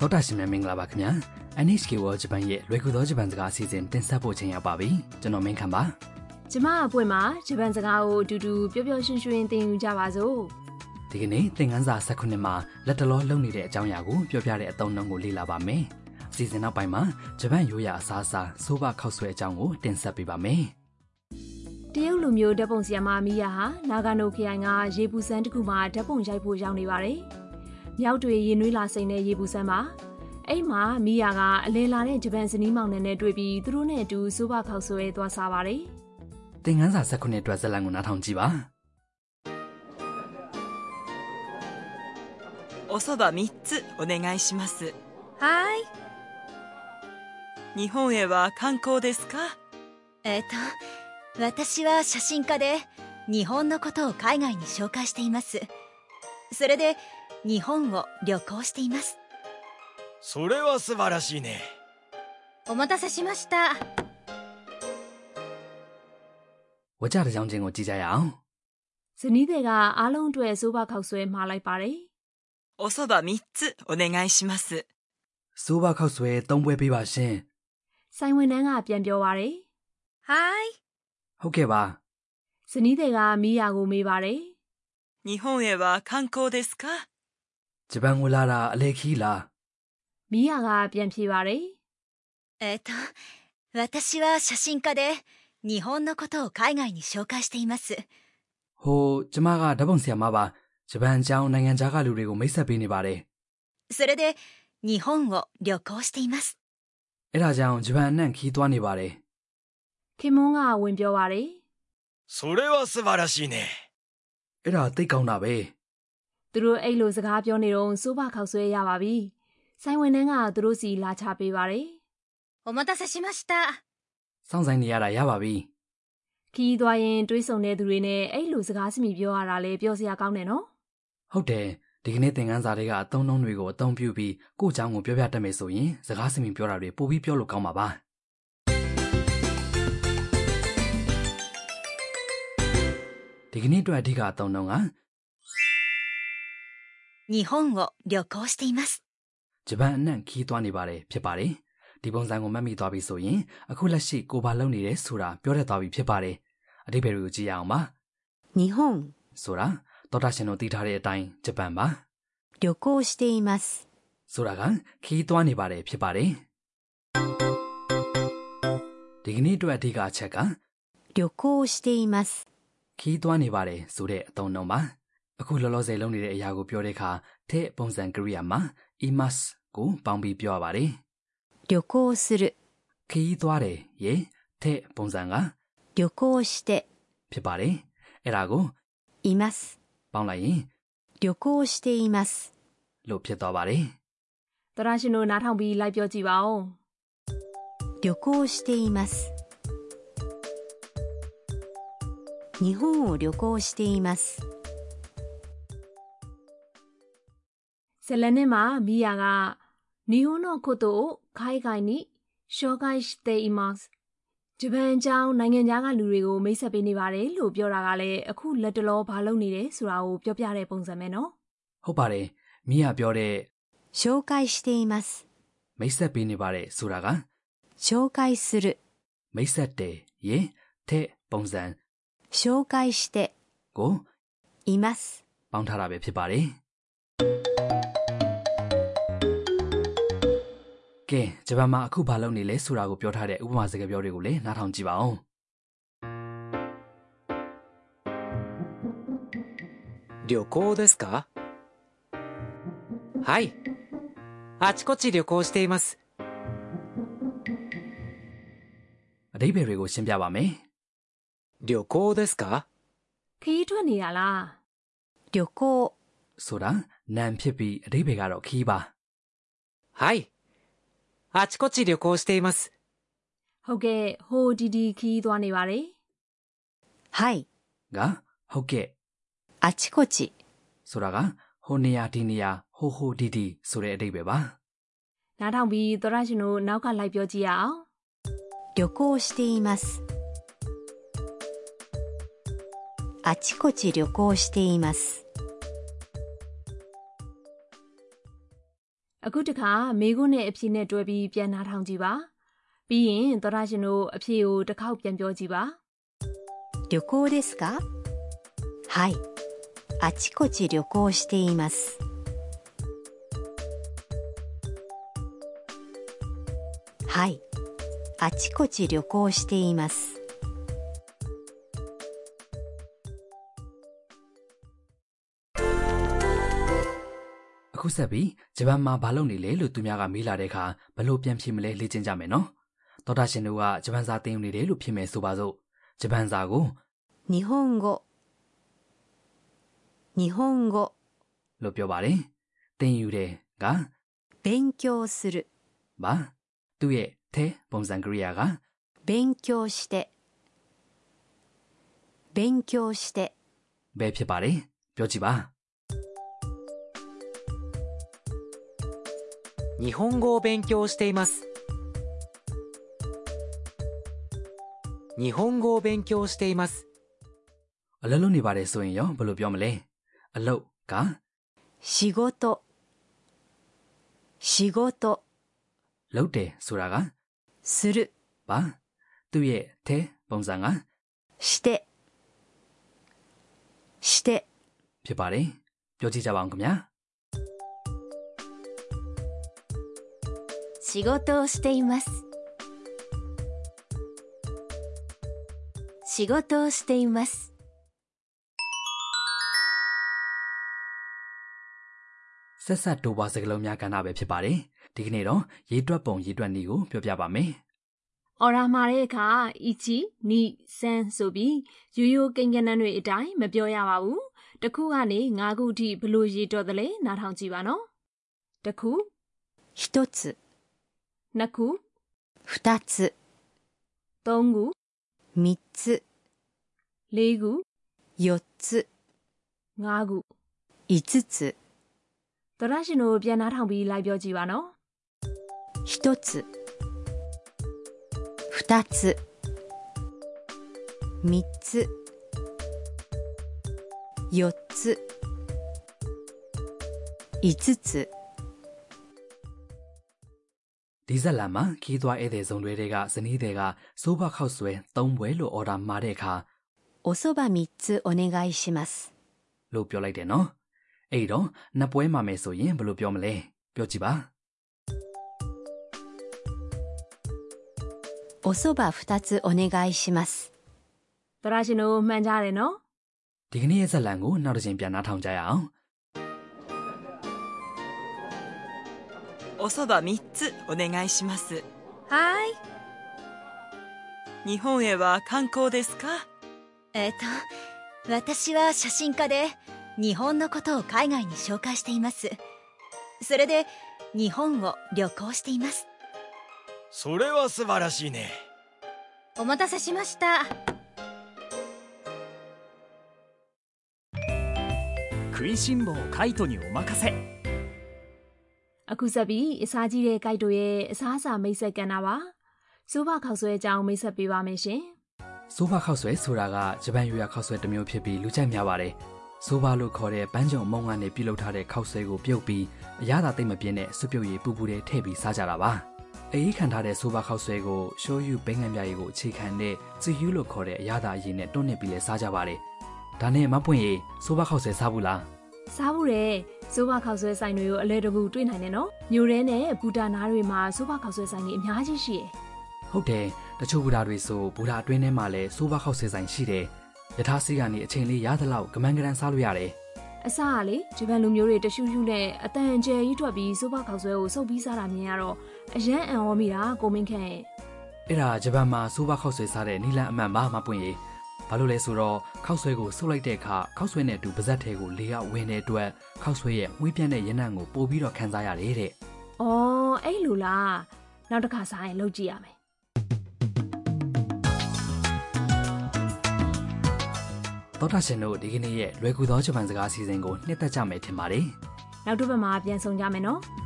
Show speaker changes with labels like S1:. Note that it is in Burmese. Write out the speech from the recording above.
S1: တောတာရှင်များမင်္ဂလာပါခင်ဗျာ NHK World Japan ရဲ့လွယ်ကူသောဂျပန်စကားအစီအစဉ်တင်ဆက်ဖို့ချိန်ရောက်ပါပြီကျွန်တော်မင်းခမ်းပါ
S2: ကျမအပွင့်မှာဂျပန်စကားကိုအတူတူပျော်ပျော်ရွှင်ရွှင်သင်ယူကြပါစို့
S1: ဒီကနေ့သင်ခန်းစာ19မှာလက်တလောလုပ်နေတဲ့အကြောင်းအရာကိုပြောပြတဲ့အသုံးအနှုန်းကိုလေ့လာပါမယ်အစီအစဉ်နောက်ပိုင်းမှာဂျပန်ရိုးရာအစားအစာဆိုဘာခောက်ဆွဲအကြောင်းကိုတင်ဆက်ပေးပါမယ်
S2: တရုတ်လူမျိုးဓာတ်ပုံဆရာမမီယာဟာနာဂါနိုခရိုင်ကရေပူစမ်းတစ်ခုမှာဓာတ်ပုံရိုက်ဖို့ရောက်နေပါတယ်မြောက်တွေရင်နွေးလာစိန်တဲ့ရေပူစမ်းပါအဲ့မှာမီယာကအလဲလာတဲ့ဂျပန်ဇနီးမောင်နှံနဲ့တွေ့ပြီးသူတို့နဲ့အတူစိုးပါခောက်ဆွဲသွားစားပါတယ်
S1: သင်ခန်းစာ19အတွက်ဇာတ်လမ်းကိုနားထောင်ကြည့်ပါ
S3: おそば3つお願いします
S4: はい。
S3: 日本へは観光ですか
S4: えっ、と、私は写真家で、日本のことを海外に紹介しています。それで、日本を旅行しています。
S5: それは素晴らしいね
S4: お待たせしました。
S1: ဝါကြတစ်ကြောင်းချင်းကိုကြည့်ကြရအောင်
S2: ဇနီးတွေကအားလုံးအတွက်စိုးပါခောက်ဆွဲမှာလိုက်ပါတယ်
S3: おそば3つお願いします
S1: ဆိုဘာခောက်ဆွဲ3ပွဲပေးပါရှင်
S2: ဆိုင်ဝင်နှန်းကပြန်ပြောပါတယ်
S4: はい。
S1: ဟုတ်ကဲ့ပါ
S2: ဇနီးတွေကမီယာကိုမေးပါတယ်
S3: 日本へは観光ですか
S1: ဂျပန်ကိုလာတာအလေခီးလား
S2: မီယာကပြန်ဖြေပါတယ်
S4: えっ、と、私は写真家で、日本のことを海外に紹介しています。
S1: ဟိုကျမကဓာတ်ပုံဆရာမပါဂျပန်အကြောင်းနိုင်ငံခြားကလူတွေကိုမိတ်ဆက်ပေးနေပါတယ်
S4: それで、日本を旅行しています。
S1: အဲ့ဒါကြောင့်ဂျပန်အနှံ့ခီးသွားနေပါတယ်
S2: ခင်မွန်းကဝင်ပြောပါတယ်
S5: それは素晴らしいね
S1: ။အဲ့ဒါသိတ်ကောင်းတာပဲ
S2: သူတို့အဲ့လိုစကားပြောနေတော့စိုးပါခောက်ဆွဲရပါပြီ။ဆိုင်ဝင်နှန်းကသူတို့စီလာချပေးပါတယ်
S4: お待たせしました。
S1: ။စောင့်ဆိုင်နေရတာရပါပြီ
S2: ။ခီးသွားရင်တွေးဆုံတဲ့သူတွေနဲ့အဲ့လိုစကားစမိပြောရတာလည်းပြောစရာကောင်းတယ်နော်
S1: ။ဟုတ်တယ်ဒီကနေ့သင်ခန်းစာတွေကအသုံးနှုန်းတွေကိုအသုံးပြုပြီးကိုယ့်အကြောင်းကိုပြောပြတတ်မယ်ဆိုရင်စကားစမြင်ပြောတာတွေပိုပြီးပြောလို့ကောင်းပါပါ။ဒီကနေ့အတွက်အဓိကအသုံးနှုန်းက
S4: 日本を旅行しています。
S1: ဂျပန်အနှံ့ခီးသွားနေပါတယ်ဖြစ်ပါတယ်။ဒီပုံစံကိုမှတ်မိသွားပြီဆိုရင်အခုလက်ရှိကိုဘာလုပ်နေတယ်ဆိုတာပြောတတ်သွားပြီဖြစ်ပါတယ်။အဓိပ္ပာယ်တွေကိုကြည့်ရအောင်ပါ။
S6: 日本
S1: ဆိုတာသောတာရှင်တို့သိထားတဲ့အတိုင်းဂျပန်ပါ
S6: 旅行しています
S1: ဆိုတာကခီးသွားနေပါတယ်ဖြစ်ပါတယ်ဒီကနေ့အတွက်အဓိကအချက်က
S6: 旅行しています
S1: ခီးသွားနေပါတယ်ဆိုတဲ့အသုံးအနှုန်းပါအခုလောလောဆယ်လုပ်နေတဲ့အရာကိုပြောတဲ့အခါထဲ့ပုံစံကရိယာမှာ imas ကိုပေါင်းပြီးပြောရပါတယ်
S6: 旅行する
S1: ခီးသွားတယ်ရဲ့ထဲ့ပုံစံက
S6: 旅行して
S1: ဖြစ်ပါတယ်အဲ့ဒါကို
S6: います
S1: ပေါင်းလိုက်ရင်
S6: 旅行しています
S1: လို့ဖြစ်သွားပါတယ်
S2: ။သရရှင်တို့နားထောင်ပြီးလိုက်ပြောကြည့်ပါဦး
S6: 旅行しています日本を旅行しています
S2: ။ဇလန်နဲ့မှာမီယာကနီဟွန်းနိုကိုတိုကိုခိုင်ခိုင်နီရှောကိုင်စတေအီမတ်စ်ဂျပန်အကြောင်းနိုင်ငံခြားကလူတွေကိုမိတ်ဆက်ပေးနေပါတယ်လို့ပြောတာကလည်းအခုလက်တလောဘာလုပ်နေတယ်ဆိုတာကိုပြောပြတဲ့ပုံစံပဲနော်
S1: ဟုတ်ပါတယ်မိကပြောတဲ့
S6: 紹介しています
S1: မိတ်ဆက်ပေးနေပါတယ်ဆိုတာက
S6: 紹介する
S1: မိတ်ဆက်တယ်ရင်တဲ့ပုံစံ
S6: 紹介して
S1: ကို
S6: います
S1: ပေါင်းထားတာပဲဖြစ်ပါတယ်။ကဲဂျပန်မှာအခုဘာလုပ်နေလဲဆိုတာကိုပြောထားတဲ့ဥပမာစကားပြောတွေကိုလည်းနားထောင်ကြည့်ပါအောင်
S7: 旅行ですかはいあちこち旅行しています
S1: ။အတိပ္ပယ်တွေကိုရှင်းပြပါမယ်
S7: 旅行ですか
S2: ။ခီးထွက်နေရလား။
S6: 旅行
S1: ။ဆိုတာနံဖြစ်ပြီးအတိပ္ပယ်ကတော့ခီးပါ
S7: はいあちこち旅行しています
S2: ဟုတ်ကဲ့ဟိုဒီဒီခီးသွားနေပါတယ်
S6: はい
S1: ကဟုတ်ကဲ့
S6: あちこち
S1: ဆိုတာကဟိုနေရာဒီနေရာဟိုဟိုဒီဒီဆိုတဲ့အတိပ္ပယ်ပါ
S2: ။နားထောင်ပြီးသရရှင်တို့နောက်ကလိုက်ပြောကြည့်ရအောင်
S6: 旅行していますあちこち旅行しています
S2: ။ အခုတခါမိခွန်းနဲ့အဖြေနဲ့တွဲပြီးပြန်နားထောင်ကြည့်ပါပြီးရင်သောရရှင်တို့အဖြေကိုတစ်ခေါက်ပြန်ပြောကြည့်ပါ
S6: 旅行ですかはいあちこち旅行していますはいあちこち旅行しています
S1: အခုဆက်ပြီးဂျပန်မှာဘာလုပ်နေလဲလို့သူများကမေးလာတဲ့အခါဘယ်လို့ပြန်ဖြေမလဲလေ့ကျင့်ကြမယ်နော်ဒေါက်တာရှင်တို့ကဂျပန်စာသင်ယူနေတယ်လို့ဖြေမယ်ဆိုပါစို့ဂျပန်စာကို
S6: 日本語日本語
S1: လို့ပြောပါတယ်သင်ယူတယ်က
S6: 勉強する
S1: ဘာသူ့ရဲ့သပုံစံကရိယာက
S6: 勉強して勉強して
S1: ဘယ်ဖြစ်ပါတယ်ပြောကြည့်ပါ
S7: 日本語を勉強しています。日本語を勉強しています。
S1: အလုပ်လုပ်နေပါတယ်ဆိုရင်ရောဘယ်လို့ပြောမလဲအလုပ်က
S6: 仕事仕事
S1: လုပ်တယ်ဆိုတာက
S6: する
S1: ဘာသူ့ရဲ့သပုံစံက
S6: してして
S1: ဖြစ်ပါတယ်ပြောကြည့်ကြပါအောင်ခင်ဗျာ
S4: 仕事をしています仕事をしています
S1: ဆက်ဆက်တိုးပွားစကားလုံးများကဏ္ဍပဲဖြစ်ပါတယ်ဒီကနေ့တော့ရေးတွက်ပုံရေးတွက်နည်းကိုပြောပြပါမယ်
S2: အော်ရာမာတဲ့အခါအီချီနီဆန်ဆိုပြီးရိုးရိုးကိန်းကနန်းတွေအတိုင်းမပြောရပါဘူးတစ်ခုကနေ၅ခုအထိဘယ်လို့ရေတော်တယ်လဲနားထောင်ကြည့်ပါနော်တစ်ခု
S6: 一つ
S2: နှစ်ခု
S6: 二つ
S2: သုံးခု
S6: 三つ
S2: လေးခု
S6: 四つ
S2: ၅ခု
S6: 五つ
S2: သောရရှင်တို့ပြန်နားထောင်ပြီးလိုက်ပြောကြည့်ပါနော်
S6: 一つ二つ三つ四つ五つ
S1: ဒီဇက်လန်မှာခီးသွားဧည့်သည်စုံတွေကဇနီးတွေကစိုးဘခောက်ဆွဲသုံးပွဲလို့အော်ဒါမှာတဲ့အခါ
S6: おそば三つお願いします
S1: လို့ပြောလိုက်တယ်နော်အဲ့တော့နှစ်ပွဲမှာမယ်ဆိုရင်ဘယ်လိုပြောမလဲပြောကြည့်ပါ
S6: おそば二つお願いします
S2: ။သရရှင်တို့မှန်ကြတယ်နော်
S1: ဒီကနေ့ရဲ့ဇက်လန်ကိုနောက်တစ်ချိန်ပြန်နှားထောင်ကြရအောင်
S3: おそば3つお願いします
S4: はい
S3: 日本へは観光ですか
S4: えっ、と私は写真家で日本のことを海外に紹介していますそれで日本を旅行しています
S5: それは素晴らしいね
S4: お待たせしました
S8: 食いしん坊カイトにお任せ
S2: ။အခုဆက်ပြီးအစားကြီးတဲ့ကိုက်တို့ရဲ့အစားအစာမိတ်ဆက်ကဏ္ဍပါ။စိုးဘခောက်ဆွဲအကြောင်းမိတ်ဆက်ပေးပါမယ်ရှင်
S1: စိုးဘခောက်ဆွဲဆိုတာကဂျပန်ရိုရာခောက်ဆွဲတစ်မျိုးဖြစ်ပြီးလူကြိုက်များပါတယ်စိုးဘလို့ခေါ်တဲ့ပန်းကြုံမုံကနေပြုလုပ်ထားတဲ့ခောက်ဆွဲကိုပြုတ်ပြီးအရသာသိမ့်မပြင်းတဲ့စုပ်ပြုတ်ရည်ပူပူတဲ့ထည့်ပြီးစားကြတာပါအေးခံထားတဲ့စိုးဘခောက်ဆွဲကိုရှိုးယူဘိန်းငံပြရည်ကိုအခြေခံတဲ့စီယူလို့ခေါ်တဲ့အရသာအရည်နဲ့တွန်းနှစ်ပြီးလဲစားကြပါတယ်ဒါနဲ့မပွင့်ရည်စိုးဘခောက်ဆွဲစားဘူးလား
S2: ။စားဖို့တဲ့စိုးဘခောက်ဆွဲဆိုင်တွေကိုအလဲတကူတွေ့နိုင်တယ်နော်။မြို့ထဲနဲ့ဘူတာနားတွေမှာစိုးဘခောက်ဆွဲဆိုင်တွေအများကြီးရှိတယ်
S1: ဟုတ်တယ်တချို့ဘူတာတွေဆိုဘူတာအတွင်းထဲမှာလည်းစိုးဘခောက်ဆယ်ဆိုင်ရှိတယ်ယထာစီကနေအချိန်လေးရသလောက်ကမန်ကရန်စားလို့ရတယ်
S2: ။အစားကလေဂျပန်လူမျိုးတွေတရှူးရှူးနဲ့အတန်အကျယ်ကြီးထွက်ပြီးစိုးဘခောက်ဆွဲကိုစုပ်ပြီးစားတာမြင်ရတော့အယမ်းအံ့ဩမိတာကိုမင်းခန့်ရဲ့
S1: အဲ့ဒါဂျပန်မှာစိုးဘခောက်ဆယ်စားတဲ့နီလန်အမှန်ပါမပွင့်ရေဘာလို့လဲဆိုတော့ခောက်ဆွဲကိုဆုပ်လိုက်တဲ့အခါခောက်ဆွဲနဲ့အတူပါဇက်ထဲကိုလေကဝင်တဲ့အတွက်ခောက်ဆွဲရဲ့မွေးပြန့်တဲ့ရနံ့ကိုပို့ပြီးတော့ခန်းစားရတယ်တဲ့
S2: ။အော်အဲ့လိုလား။နောက်တစ်ခါစားရင်လုပ်ကြည့်ရမယ်။
S1: သောတာရှင်တို့ဒီကနေ့ရဲ့လွယ်ကူသောဂျပန်စကားအစီအစဉ်ကိုနှစ်သက်ကြမယ်ထင်ပါတယ်
S2: နောက်တစ်ပတ်မှာပြန်ဆောင်ကြမယ်နော်။